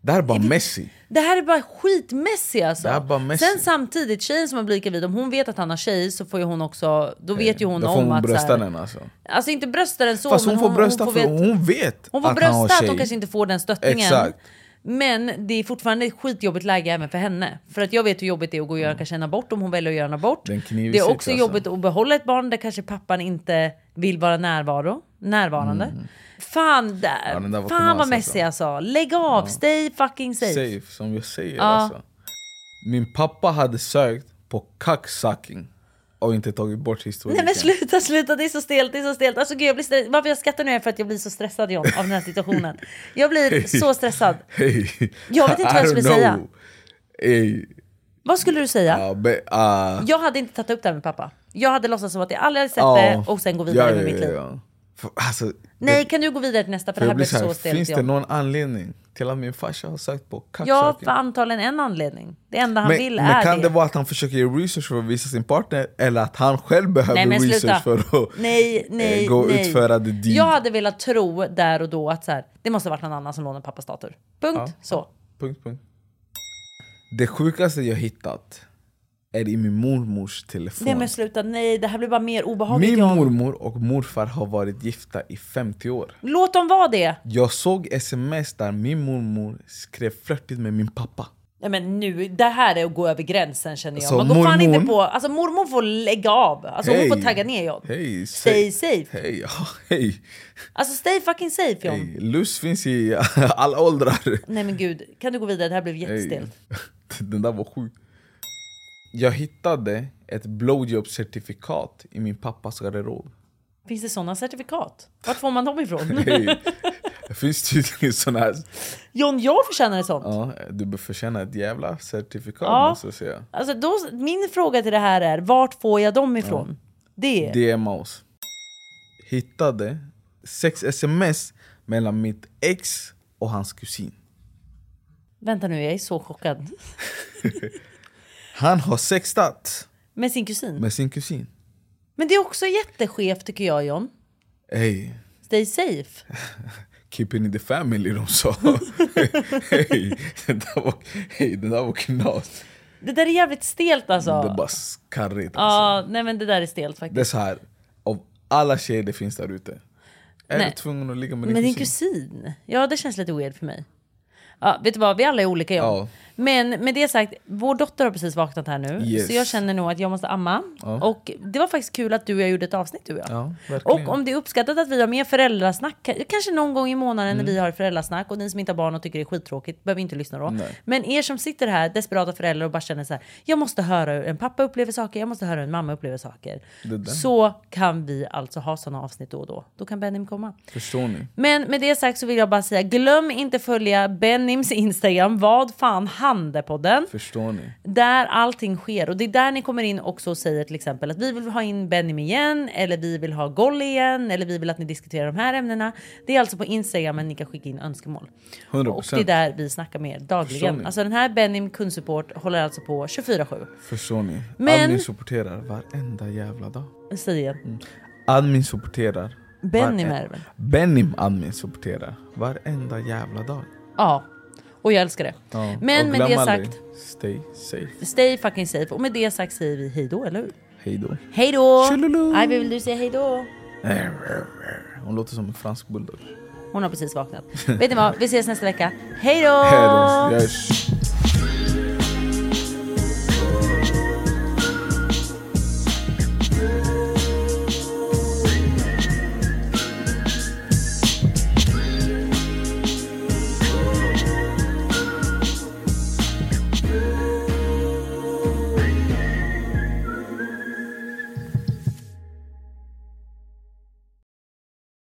Speaker 3: Det här är bara Messi.
Speaker 2: Det här är bara skitmässigt alltså.
Speaker 3: Det här är bara Messi.
Speaker 2: Sen samtidigt, tjejen som har blivit gravid, om hon vet att han har tjej så får ju hon också... Då vet ju hon
Speaker 3: Eh,
Speaker 2: om
Speaker 3: Då får hon
Speaker 2: att... så
Speaker 3: brösta
Speaker 2: här-
Speaker 3: den alltså.
Speaker 2: Alltså inte brösta den så,
Speaker 3: Fast hon,
Speaker 2: men
Speaker 3: får brösta
Speaker 2: hon
Speaker 3: för
Speaker 2: veta-
Speaker 3: hon vet
Speaker 2: hon får
Speaker 3: att han har
Speaker 2: brösta att
Speaker 3: tjej.
Speaker 2: hon kanske inte får den stöttningen.
Speaker 3: Exakt.
Speaker 2: Men det är fortfarande ett skitjobbigt läge även för henne. För att jag vet hur jobbigt det är att gå och göra kanske en abort om hon väljer att göra en abort.
Speaker 3: Mm. Den kniv i
Speaker 2: Det är
Speaker 3: sitt,
Speaker 2: också
Speaker 3: alltså.
Speaker 2: jobbigt att behålla ett barn där kanske pappan inte vill vara närvaro, närvarande. Fan, där,
Speaker 3: Mm. Ja, den där var
Speaker 2: fan vad
Speaker 3: knas,
Speaker 2: messy alltså. Lägg av, stay fucking safe.
Speaker 3: Safe, som jag säger
Speaker 2: Ja.
Speaker 3: alltså. Min pappa hade sökt på cocksucking och inte tagit bort
Speaker 2: Nej
Speaker 3: historiken.
Speaker 2: men sluta, sluta, det är så stelt, det är så stelt. Alltså gud, jag blir stressad. Varför jag skrattar nu är för att jag blir så stressad John, av den här situationen. Jag blir så stressad.
Speaker 3: Hey.
Speaker 2: Jag vet inte vad jag skulle säga.
Speaker 3: Hey.
Speaker 2: Vad skulle du säga?
Speaker 3: Ja, be, ah.
Speaker 2: Jag hade inte tagit upp det här med pappa. Jag hade låtsats som att jag aldrig hade sett
Speaker 3: Ja.
Speaker 2: det och sen gå vidare
Speaker 3: Ja,
Speaker 2: med
Speaker 3: ja,
Speaker 2: mitt
Speaker 3: ja,
Speaker 2: liv.
Speaker 3: ja. För, alltså,
Speaker 2: Nej, kan du gå vidare till nästa? För det här
Speaker 3: jag blir
Speaker 2: blev
Speaker 3: så här,
Speaker 2: så stelt.
Speaker 3: Finns det
Speaker 2: John.
Speaker 3: någon anledning till att min farsa har sökt på cocksucking?
Speaker 2: Ja, för antagligen en anledning. Det enda han
Speaker 3: men,
Speaker 2: vill
Speaker 3: men
Speaker 2: är
Speaker 3: kan
Speaker 2: det.
Speaker 3: det. vara att han försöker göra research för att visa sin partner eller att han själv behöver
Speaker 2: Nej, men sluta.
Speaker 3: research för att eh,
Speaker 2: nej, nej,
Speaker 3: gå och
Speaker 2: nej.
Speaker 3: utföra det dit?
Speaker 2: Jag hade velat tro där och då att så här, det måste ha varit någon annan som lånade pappas dator. Punkt.
Speaker 3: Ja.
Speaker 2: Så.
Speaker 3: Punkt, punkt. Det sjukaste jag hittat är i min mormors telefon.
Speaker 2: Nej men sluta, nej det här blir bara mer obehagligt.
Speaker 3: min
Speaker 2: John.
Speaker 3: mormor och morfar har varit gifta i 50 år.
Speaker 2: Låt dem vara det!
Speaker 3: Jag såg sms där min mormor skrev flörtigt med min pappa.
Speaker 2: Nej men nu, det här är att gå över gränsen känner jag.
Speaker 3: Alltså,
Speaker 2: Man går fan
Speaker 3: mormon-
Speaker 2: inte på, alltså mormor får lägga av. Alltså hon får
Speaker 3: Hej.
Speaker 2: tagga ner John.
Speaker 3: Hej,
Speaker 2: Stay
Speaker 3: stay-
Speaker 2: safe.
Speaker 3: Hej, ja, hej.
Speaker 2: Alltså stay fucking safe John.
Speaker 3: hej. Lust finns i alla åldrar.
Speaker 2: Nej men gud, kan du gå vidare? Det här blev jättestelt.
Speaker 3: Hej. Den där var sjuk. Jag hittade ett blowjob-certifikat i min pappas garderob.
Speaker 2: Finns det sådana certifikat? Vart får man dem ifrån?
Speaker 3: Hej. Det finns tydligen såna här...
Speaker 2: John, jag förtjänar ett sånt.
Speaker 3: Ja, du förtjänar ett jävla certifikat
Speaker 2: Ja.
Speaker 3: måste jag säga.
Speaker 2: Alltså, då, min fråga till det här är, vart får jag dem ifrån? Det.
Speaker 3: Det är Maus. Hittade sex sms mellan mitt ex och hans kusin.
Speaker 2: Vänta nu, jag är så chockad.
Speaker 3: Han har sextat
Speaker 2: Med sin kusin.
Speaker 3: med sin kusin.
Speaker 2: Men det är också jätteskevt tycker jag John.
Speaker 3: Hey,
Speaker 2: Stay safe.
Speaker 3: keeping in the family de sa. hey, den där var, hey, den där var knas.
Speaker 2: Det där är jävligt stelt alltså.
Speaker 3: Det var skarrigt. alltså.
Speaker 2: Ja, nej men det där är stelt faktiskt.
Speaker 3: Det är så här, av alla tjejer det finns där ute. Är
Speaker 2: Nej.
Speaker 3: du tvungen att ligga med
Speaker 2: Men
Speaker 3: din
Speaker 2: din
Speaker 3: kusin?
Speaker 2: kusin? Ja, det känns lite weird för mig. Ja, vet du vad, vi alla är olika John.
Speaker 3: Ja.
Speaker 2: Men med det sagt, vår dotter har precis vaknat här nu.
Speaker 3: Yes.
Speaker 2: Så jag känner nog att jag måste amma.
Speaker 3: Ja.
Speaker 2: Och det var faktiskt kul att du och jag gjorde ett avsnitt du och jag.
Speaker 3: Ja, verkligen.
Speaker 2: Och om det är uppskattat att vi har mer föräldrasnack, ka- kanske någon gång i månaden
Speaker 3: Mm.
Speaker 2: när vi har föräldrasnack och ni som inte har barn och tycker det är skittråkigt behöver inte lyssna då.
Speaker 3: Nej.
Speaker 2: Men er som sitter här, desperata föräldrar och bara känner så här, jag måste höra hur en pappa upplever saker, jag måste höra hur en mamma upplever saker.
Speaker 3: Det där.
Speaker 2: Så kan vi alltså ha sådana avsnitt då och då. Då kan Benim komma.
Speaker 3: Förstår ni?
Speaker 2: Men med det sagt så vill jag bara säga, glöm inte följa Benims Instagram, vad fan handepodden.
Speaker 3: Förstår ni?
Speaker 2: Där allting sker och det är där ni kommer in också och säger till exempel att vi vill ha in Benim igen eller vi vill ha Golly igen eller vi vill att ni diskuterar de här ämnena. Det är alltså på Instagram men ni kan skicka in önskemål.
Speaker 3: 100%.
Speaker 2: Och det är där vi snackar med er
Speaker 3: Förstår
Speaker 2: dagligen.
Speaker 3: ni?
Speaker 2: Alltså den här Benim kundsupport håller alltså på 24-7.
Speaker 3: Förstår ni?
Speaker 2: Men-
Speaker 3: Admin supporterar varenda jävla dag.
Speaker 2: Säg igen.
Speaker 3: Mm. Admin supporterar.
Speaker 2: Benny
Speaker 3: varenda-
Speaker 2: Merven.
Speaker 3: Benny admin supporterar varenda jävla dag.
Speaker 2: Ja, och jag älskar det.
Speaker 3: Ja,
Speaker 2: Men
Speaker 3: och
Speaker 2: med
Speaker 3: glöm
Speaker 2: det
Speaker 3: aldrig,
Speaker 2: sagt,
Speaker 3: Stay safe.
Speaker 2: stay fucking safe. Och med det sagt säger vi hej då, eller hur?
Speaker 3: Hej då.
Speaker 2: Hej då! Ivy, vill du säga hej då?
Speaker 3: Hon låter som en fransk bulldog.
Speaker 2: Hon har precis vaknat. Vet ni vad? Vi ses nästa vecka. Hej då!
Speaker 3: Hej då. Yes.